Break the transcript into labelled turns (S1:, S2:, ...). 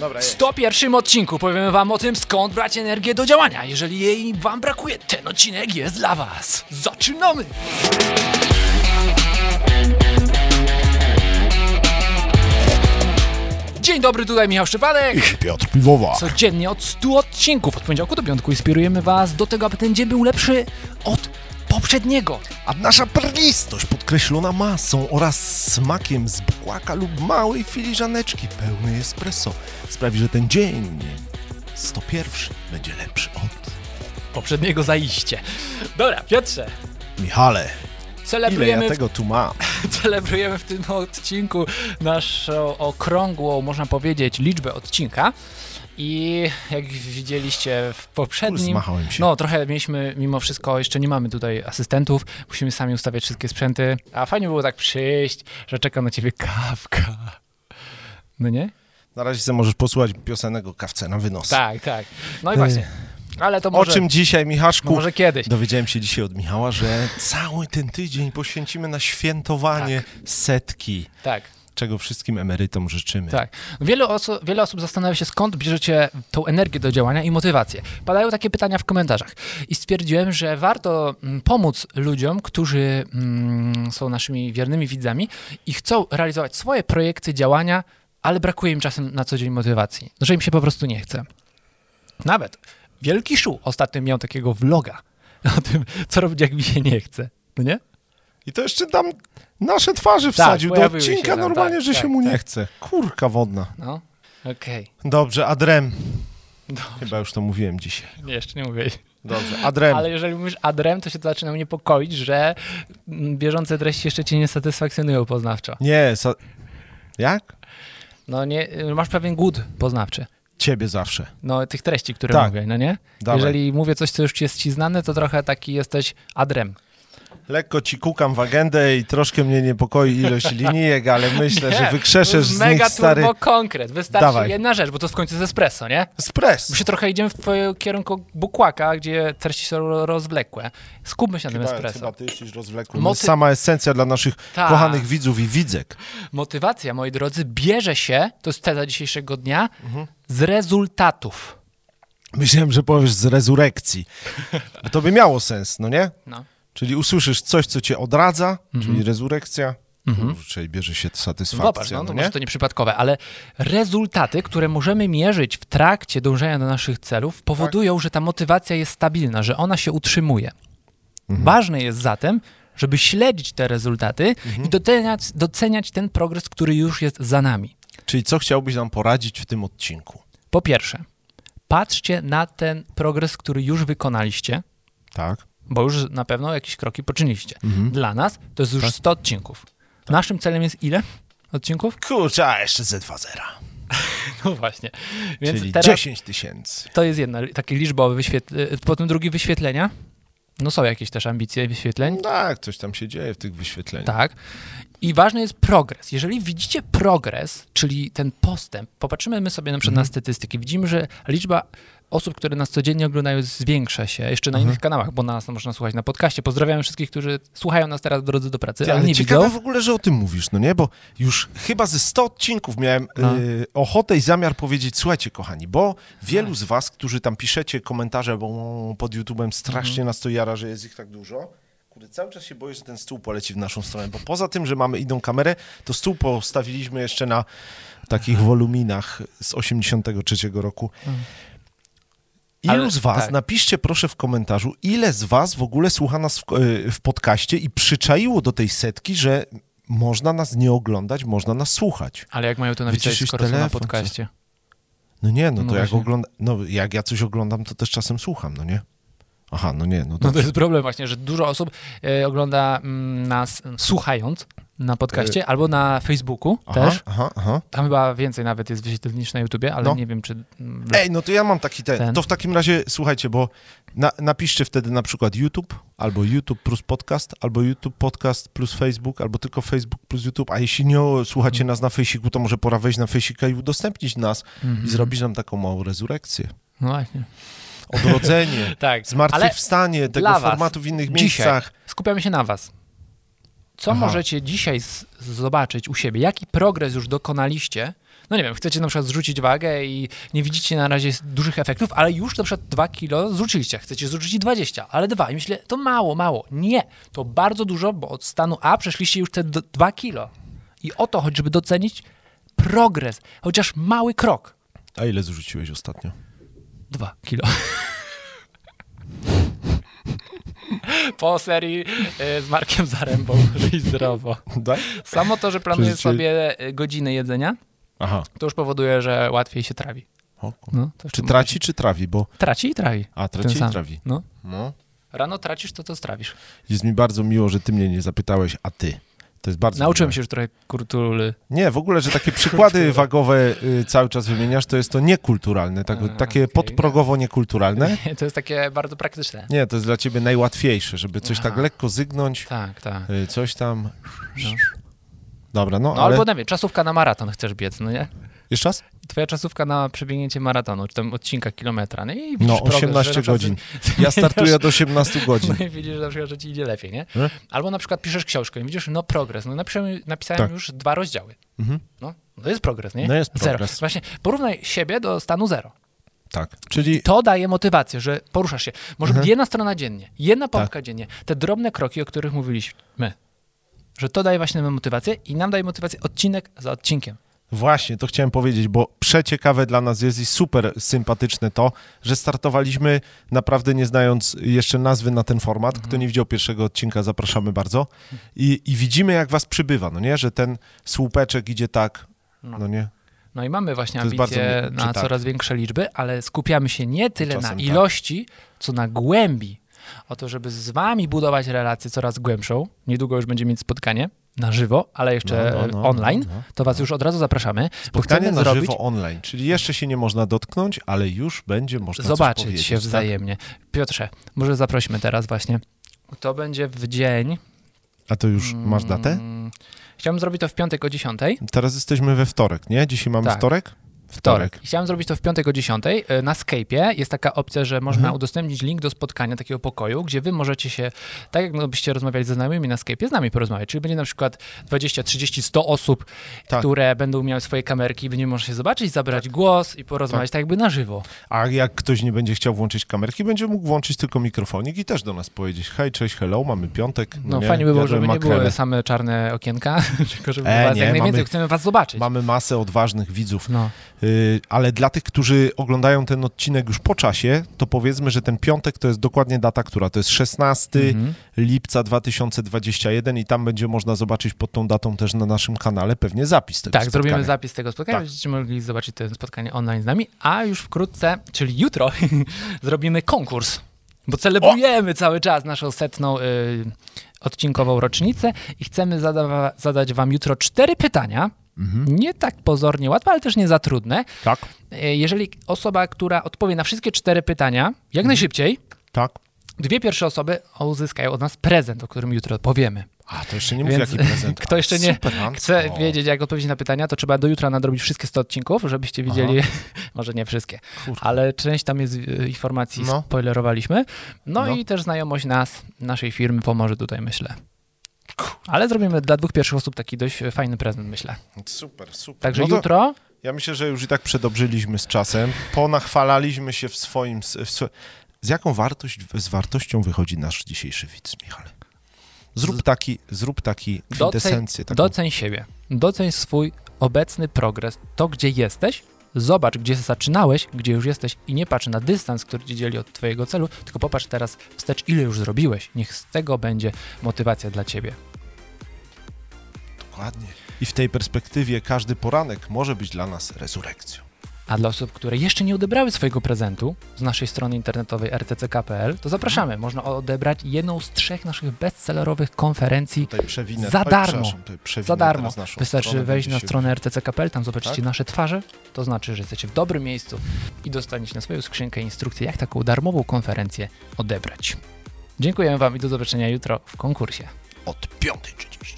S1: Dobra,
S2: W
S1: jej.
S2: 101 odcinku powiemy wam o tym, skąd brać energię do działania. Jeżeli jej wam brakuje, ten odcinek jest dla was. Zaczynamy! Dzień dobry, tutaj Michał Szczepalek.
S1: Piotr Piwowa.
S2: Codziennie od 100 odcinków, od poniedziałku do piątku, inspirujemy was do tego, aby ten dzień był lepszy od poprzedniego.
S1: A nasza perlistość podkreślona masą oraz smakiem z bukłaka lub małej filiżaneczki pełnej espresso sprawi, że ten dzień 101 będzie lepszy od...
S2: Poprzedniego zaiście. Dobra, Piotrze,
S1: Michale, ile
S2: celebrujemy
S1: ja
S2: w
S1: tego tu mam?
S2: celebrujemy w tym odcinku naszą okrągłą, można powiedzieć, liczbę odcinka. I jak widzieliście w poprzednim.
S1: Zmachałem się.
S2: No, trochę mieliśmy, mimo wszystko, jeszcze nie mamy tutaj asystentów. Musimy sami ustawiać wszystkie sprzęty. A fajnie było tak przyjść, że czeka na ciebie kawka. No nie?
S1: Na razie sobie możesz posłuchać piosenego kawce na wynos.
S2: Tak, tak. No i właśnie. Ale to może.
S1: O czym dzisiaj, Michaszku?
S2: no może kiedyś.
S1: Dowiedziałem się dzisiaj od Michała, że cały ten tydzień poświęcimy na świętowanie setki,
S2: Tak.
S1: czego wszystkim emerytom życzymy.
S2: Tak. Wiele, oso- wiele osób zastanawia się, skąd bierzecie tą energię do działania i motywację. Padają takie pytania w komentarzach. I stwierdziłem, że warto mm, pomóc ludziom, którzy mm, są naszymi wiernymi widzami i chcą realizować swoje projekty, działania, ale brakuje im czasem na co dzień motywacji, No, że im się po prostu nie chce. Nawet Wielki Szu ostatnio miał takiego vloga o tym, co robić, jak mi się nie chce. No nie?
S1: I to jeszcze tam nasze twarze wsadził do
S2: Tak, pojawiły się
S1: odcinka
S2: tam,
S1: normalnie,
S2: tak,
S1: że
S2: tak,
S1: się mu nie
S2: tak.
S1: chce. Kurka wodna.
S2: No, okej.
S1: Dobrze, Adrem.
S2: Dobrze.
S1: Chyba już to mówiłem dzisiaj.
S2: Nie, Jeszcze nie mówię.
S1: Dobrze, Adrem.
S2: Ale jeżeli mówisz adrem, to się to zaczyna niepokoić, że mm, bieżące treści jeszcze cię nie satysfakcjonują poznawczo.
S1: Nie, sa... jak?
S2: No nie, masz pewien głód poznawczy.
S1: Ciebie zawsze.
S2: No tych treści, które
S1: Tak.
S2: mówię, no nie?
S1: Dawaj.
S2: Jeżeli mówię coś, co już jest ci znane, to trochę taki jesteś adrem.
S1: Lekko ci kukam w agendę i troszkę mnie niepokoi ilość linijek, ale myślę, że
S2: Nie, to
S1: wykrzeszesz
S2: jest
S1: z
S2: mega
S1: nich stary
S2: turbo konkret. Wystarczy
S1: Dawaj.
S2: jedna rzecz, bo to w końcu jest espresso, nie?
S1: spres.
S2: Bo się trochę idziemy w twoje- kierunku bukłaka, gdzie treści są rozwlekłe. Skupmy się na tym
S1: Chyba,
S2: espresso.
S1: chyba ty jesteś rozwlekły.
S2: Moty-
S1: To Sama esencja dla naszych
S2: Tak.
S1: kochanych widzów i widzek.
S2: Motywacja, moi drodzy, bierze się, to jest teza dzisiejszego dnia,
S1: Mhm.
S2: z rezultatów.
S1: Myślałem, że powiesz z rezurekcji. Bo to by miało sens, no nie?
S2: No.
S1: Czyli usłyszysz coś, co cię odradza, czyli rezurekcja, kurczę, i bierze się
S2: Zobacz,
S1: satysfakcja,
S2: Mhm. no,
S1: no,
S2: to
S1: nie?
S2: może to nieprzypadkowe, ale rezultaty, które możemy mierzyć w trakcie dążenia do naszych celów, powodują,
S1: Tak.
S2: że ta motywacja jest stabilna, że ona się utrzymuje.
S1: Mhm.
S2: Ważne jest zatem, żeby śledzić te rezultaty
S1: Mhm.
S2: i doceniać, doceniać ten progres, który już jest za nami.
S1: Czyli co chciałbyś nam poradzić w tym odcinku?
S2: Po pierwsze, patrzcie na ten progres, który już wykonaliście,
S1: Tak?
S2: bo już na pewno jakieś kroki poczyniliście.
S1: Mhm.
S2: Dla nas to jest już
S1: Tak.
S2: 100 odcinków. Naszym celem jest ile odcinków?
S1: Kurczę, a jeszcze ze dwa zera,
S2: No właśnie. Więc
S1: czyli
S2: teraz
S1: 10 tysięcy.
S2: To jest jedna, taki liczbowy wyświetl... y, Potem drugi wyświetlenia. No są jakieś też ambicje wyświetleń.
S1: Tak, coś tam się dzieje w tych wyświetleniach.
S2: Tak. I ważny jest progres. Jeżeli widzicie progres, czyli ten postęp, popatrzymy my sobie na przykład na
S1: Mhm.
S2: statystyki, widzimy, że liczba osób, które nas codziennie oglądają, zwiększa się jeszcze
S1: Mhm.
S2: na innych kanałach, bo nas można słuchać na podcaście. Pozdrawiam wszystkich, którzy słuchają nas teraz w drodze do pracy,
S1: Ty,
S2: ale,
S1: ale
S2: nie
S1: ciekawe
S2: widzą.
S1: w ogóle, że o tym mówisz, no nie? Bo już chyba ze 100 odcinków miałem
S2: No.
S1: y, ochotę i zamiar powiedzieć, słuchajcie kochani, bo
S2: No.
S1: wielu z was, którzy tam piszecie komentarze, bo pod YouTube'em strasznie
S2: Mhm.
S1: nas to jara, że jest ich tak dużo, kurde, cały czas się boję, że ten stół poleci w naszą stronę, bo poza tym, że mamy inną kamerę, to stół postawiliśmy jeszcze na takich woluminach z 83 roku. Ilu
S2: Ale-
S1: z was,
S2: tak.
S1: napiszcie proszę w komentarzu, ile z was w ogóle słucha nas w, y, w podcaście i przyczaiło do tej setki, że można nas nie oglądać, można nas słuchać.
S2: Ale jak mają to napisać,
S1: Wyciszyć
S2: skoro są na
S1: telefon, co?
S2: podcaście?
S1: No nie, no to
S2: No
S1: jak
S2: właśnie.
S1: ogląda, no jak ja coś oglądam, to też czasem słucham, no nie? Aha, no nie, no to...
S2: No to jest problem właśnie, że dużo osób e, ogląda mm, nas mm, słuchając na podcaście albo na Facebooku
S1: E. aha,
S2: też.
S1: aha, aha.
S2: Tam chyba więcej nawet jest wyświetleń niż na YouTubie, ale
S1: No.
S2: nie wiem, czy... mm,
S1: Ej, no to ja mam taki ten.
S2: Ten.
S1: To w takim razie, słuchajcie, bo na, napiszcie wtedy na przykład YouTube, albo YouTube plus podcast, albo YouTube podcast plus Facebook, albo tylko Facebook plus YouTube, a jeśli nie o,
S2: Mhm.
S1: słuchacie nas na Facebooku, to może pora wejść na Facebooka i udostępnić nas
S2: Mhm.
S1: i zrobić nam taką małą rezurekcję.
S2: No właśnie.
S1: Odrodzenie,
S2: Tak,
S1: zmartwychwstanie tego
S2: dla was
S1: formatu w innych
S2: dzisiaj.
S1: miejscach.
S2: skupiamy się na was. Co
S1: Aha.
S2: możecie dzisiaj z- zobaczyć u siebie? Jaki progres już dokonaliście no nie wiem, chcecie na przykład zrzucić wagę i nie widzicie na razie dużych efektów, ale już na przykład 2 kilo zrzuciliście, chcecie zrzucić 20, ale 2 i myślę, to mało, mało. Nie, to bardzo dużo, bo od stanu A przeszliście już te d- 2 kilo. I o to chodzi, żeby docenić progres, chociaż mały krok.
S1: A ile zrzuciłeś ostatnio?
S2: 2 kilo. Po serii y, z Markiem Zarębą, żyj zdrowo.
S1: Tak?
S2: Samo to, że planuję
S1: Przerzuciłeś-
S2: sobie y, godziny jedzenia,
S1: Aha.
S2: to już powoduje, że łatwiej się trawi.
S1: O, kur-
S2: No, to
S1: czy
S2: jeszcze-
S1: traci, czy trawi? Bo...
S2: Traci i trawi.
S1: A,
S2: Ten
S1: traci i
S2: sam.
S1: trawi.
S2: No.
S1: No.
S2: Rano tracisz, to to strawisz.
S1: Jest mi bardzo miło, że ty mnie nie zapytałeś, a ty. To jest bardzo
S2: Nauczyłem
S1: miłe.
S2: się już trochę kurtury.
S1: Nie, w ogóle, że takie przykłady wagowe y, cały czas wymieniasz, to jest to niekulturalne, tak,
S2: A,
S1: takie
S2: okej.
S1: podprogowo niekulturalne.
S2: To jest takie bardzo praktyczne.
S1: Nie, to jest dla ciebie najłatwiejsze, żeby coś tak
S2: Aha.
S1: lekko zygnąć,
S2: Tak, tak.
S1: y, coś tam...
S2: No.
S1: Dobra, no,
S2: No,
S1: ale...
S2: Albo nie wiem, czasówka na maraton chcesz biec, no nie?
S1: Jeszcze raz?
S2: Twoja czasówka na przebiegnięcie maratonu, czy tam odcinka kilometra, no i widzisz
S1: No,
S2: progres,
S1: 18
S2: że na
S1: godzin.
S2: przykład-
S1: Ja startuję od 18 godzin.
S2: No i widzisz, że na przykład, że ci idzie lepiej, nie?
S1: Hmm?
S2: Albo na przykład piszesz książkę i widzisz, no progres, no napisałem, napisałem
S1: Tak.
S2: już dwa rozdziały.
S1: Mhm.
S2: No, to jest progres, nie?
S1: No jest
S2: Zero.
S1: progres.
S2: Właśnie porównaj siebie do stanu zero.
S1: Tak, czyli
S2: To daje motywację, że poruszasz się. Może
S1: Mhm.
S2: być jedna strona dziennie,
S1: Tak.
S2: jedna pompka dziennie. Te drobne kroki, o których mówiliśmy. Że to daje właśnie nam motywację i nam daje motywację odcinek za odcinkiem.
S1: Właśnie, to chciałem powiedzieć, bo przeciekawe dla nas jest i super sympatyczne to, że startowaliśmy naprawdę nie znając jeszcze nazwy na ten format. Kto
S2: Mhm.
S1: nie widział pierwszego odcinka, zapraszamy bardzo. I, I widzimy, jak was przybywa, no nie? Że ten słupeczek idzie tak, no, nie?
S2: No i mamy właśnie
S1: To jest
S2: ambicje
S1: bardzo mi- czy
S2: na
S1: tak?
S2: coraz większe liczby, ale skupiamy się nie tyle
S1: Czasem
S2: na
S1: tak.
S2: ilości, co na głębi. O to, żeby z wami budować relację coraz głębszą. Niedługo już będziemy mieć spotkanie na żywo, ale jeszcze
S1: No, no, no,
S2: e, online.
S1: no, no.
S2: to was już od razu zapraszamy. bo
S1: Spotkanie
S2: chcemy
S1: na
S2: zrobić,
S1: żywo online, czyli jeszcze się nie można dotknąć, ale już będzie można coś
S2: zobaczyć
S1: powiedzieć,
S2: się
S1: tak?
S2: wzajemnie. Piotrze, może zaprośmy teraz właśnie. To będzie w dzień.
S1: A to już masz datę?
S2: Mm, Chciałbym zrobić to w piątek o 10.
S1: Teraz jesteśmy we wtorek, nie? Dzisiaj mamy
S2: Tak.
S1: wtorek?
S2: Wtorek. I Chciałem zrobić to w piątek o 10. y, Na Skype'ie jest taka opcja, że można
S1: Mhm.
S2: udostępnić link do spotkania takiego pokoju, gdzie wy możecie się, tak jakbyście rozmawiali ze znajomymi na Skype'ie, z nami porozmawiać. Czyli będzie na przykład 20, 30, 100 osób,
S1: Tak.
S2: które będą miały swoje kamerki i będziemy można się zobaczyć, zabrać głos i porozmawiać tak. jakby na żywo.
S1: A jak ktoś nie będzie chciał włączyć kamerki, będzie mógł włączyć tylko mikrofonik i też do nas powiedzieć hej, cześć, hello, mamy piątek.
S2: No,
S1: nie,
S2: fajnie by było,
S1: jadłem
S2: żeby nie
S1: makrele.
S2: były same czarne okienka, tylko żeby
S1: E,
S2: was
S1: nie,
S2: jak najwięcej,
S1: mamy-
S2: chcemy was zobaczyć.
S1: Mamy masę odważnych widzów,
S2: No.
S1: Yy, ale dla tych, którzy oglądają ten odcinek już po czasie, to powiedzmy, że ten piątek to jest dokładnie data, która to jest 16
S2: Mhm.
S1: lipca 2021 i tam będzie można zobaczyć pod tą datą też na naszym kanale pewnie zapis tego
S2: Tak,
S1: spotkania.
S2: zrobimy zapis tego spotkania,
S1: Tak.
S2: będziecie mogli zobaczyć to spotkanie online z nami, a już wkrótce, czyli jutro, zrobimy konkurs, bo celebrujemy cały czas naszą setną y, odcinkową rocznicę i chcemy zada- zadać wam jutro cztery pytania,
S1: Mhm.
S2: nie tak pozornie łatwe, ale też nie za trudne.
S1: Tak,
S2: Y, Jeżeli osoba, która odpowie na wszystkie cztery pytania, jak
S1: Mhm.
S2: najszybciej,
S1: tak.
S2: dwie pierwsze osoby uzyskają od nas prezent, o którym jutro powiemy.
S1: A, to jeszcze nie mówię,
S2: Więc
S1: jaki prezent.
S2: Kto jeszcze nie
S1: Super, Hans.
S2: chce
S1: Tak. O.
S2: wiedzieć, jak odpowiedzieć na pytania, to trzeba do jutra nadrobić wszystkie 100 odcinków, żebyście wiedzieli, może nie wszystkie,
S1: Kurczę.
S2: ale część tam jest y, informacji,
S1: No.
S2: spoilerowaliśmy. No,
S1: No.
S2: i też znajomość nas, naszej firmy pomoże tutaj, myślę. Ale zrobimy dla dwóch pierwszych osób taki dość y, fajny prezent, myślę.
S1: Super, super.
S2: Także
S1: No to-
S2: jutro
S1: Ja myślę, że już i tak przedobrzyliśmy z czasem, ponachwalaliśmy się w swoim... s- W swo... Z jaką wartość, z wartością wychodzi nasz dzisiejszy widz, Michale? Zrób taki, zrób taki
S2: doceń,
S1: kwintesencję. Taką...
S2: doceń siebie, doceń swój obecny progres, to gdzie jesteś, zobacz, gdzie zaczynałeś, gdzie już jesteś i nie patrz na dystans, który ci dzieli od twojego celu, tylko popatrz teraz wstecz, ile już zrobiłeś. Niech z tego będzie motywacja dla ciebie.
S1: Dokładnie. I w tej perspektywie każdy poranek może być dla nas rezurekcją.
S2: A dla osób, które jeszcze nie odebrały swojego prezentu z naszej strony internetowej rtck.pl, to zapraszamy. Można odebrać jedną z trzech naszych bestsellerowych konferencji
S1: Tutaj przewinę.
S2: Za
S1: oj,
S2: darmo.
S1: przepraszam, tutaj przewinę
S2: za darmo.
S1: teraz naszą
S2: Wystarczy
S1: stronę,
S2: wejść
S1: będzie
S2: na
S1: się-
S2: stronę rtck.pl, tam zobaczycie
S1: Tak?
S2: nasze twarze, to znaczy, że jesteście w dobrym miejscu i dostaniecie na swoją skrzynkę instrukcję, jak taką darmową konferencję odebrać. Dziękujemy Wam i do zobaczenia jutro w konkursie.
S1: Od 5.30.